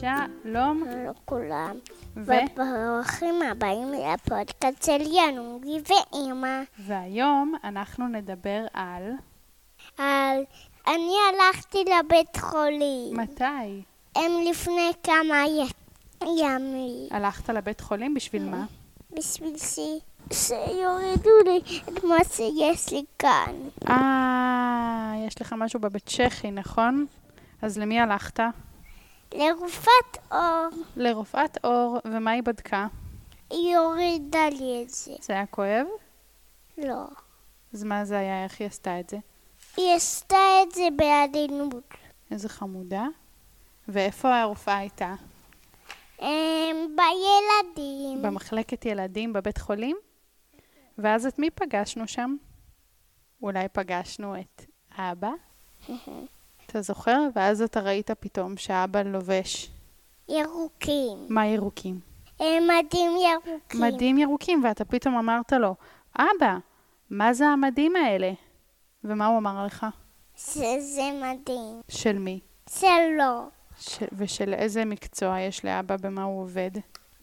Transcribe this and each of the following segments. שלום לכולם. ו... וברוכים הבאים לפודקאסט של ינוגי ואימא. והיום אנחנו נדבר על... על... אני הלכתי לבית חולים. מתי? הם לפני כמה י- ימים. הלכת לבית חולים בשביל מה? בשביל ש... שיורידו לי את מה שיש לי כאן. אה, יש לך משהו בבית צ'כי, נכון? אז למי הלכת? לרופאת אור לרופאת עור, ומה היא בדקה? היא הורידה לי את זה. זה היה כואב? לא. אז מה זה היה? איך היא עשתה את זה? היא עשתה את זה בעדינות. איזה חמודה. ואיפה הרופאה הייתה? אמ, בילדים. במחלקת ילדים בבית חולים? ואז את מי פגשנו שם? אולי פגשנו את אבא? אתה זוכר? ואז אתה ראית פתאום שאבא לובש ירוקים. מה ירוקים. הם אה, מדים ירוקים. מדים ירוקים, ואתה פתאום אמרת לו, אבא, מה זה המדים האלה? ומה הוא אמר לך? שזה לא, מדהים. של מי? שלו, ש... ושל איזה מקצוע יש לאבא, במה הוא עובד?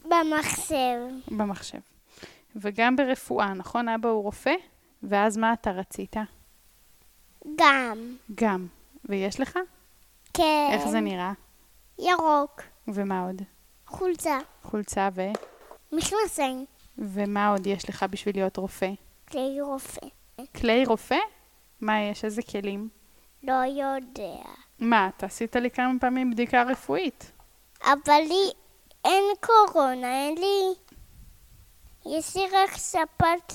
במחשב. במחשב. וגם ברפואה, נכון? אבא הוא רופא? ואז מה אתה רצית? גם. גם. ויש לך? כן. איך זה נראה? ירוק. ומה עוד? חולצה. חולצה ו... מכנסיים. ומה עוד יש לך בשביל להיות רופא? כלי רופא. כלי רופא? מה יש? איזה כלים? לא יודע. מה, אתה עשית לי כמה פעמים בדיקה רפואית. אבל לי אין קורונה, אין לי... יש לי רק ספת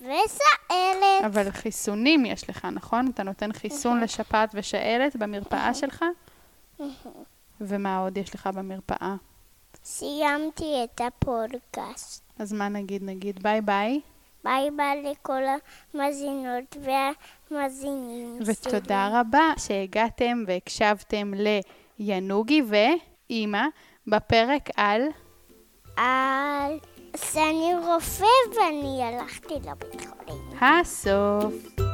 ושעלת. אבל חיסונים יש לך, נכון? אתה נותן חיסון לשפעת ושעלת במרפאה שלך? ומה עוד יש לך במרפאה? סיימתי את הפודקאסט. אז מה נגיד? נגיד ביי ביי, ביי ביי לכל המאזינות והמאזינים. שלי. ותודה רבה שהגעתם והקשבתם לינוגי ואימא בפרק על... Äh, על... אז אני רופא ואני הלכתי לבית חולים. הסוף.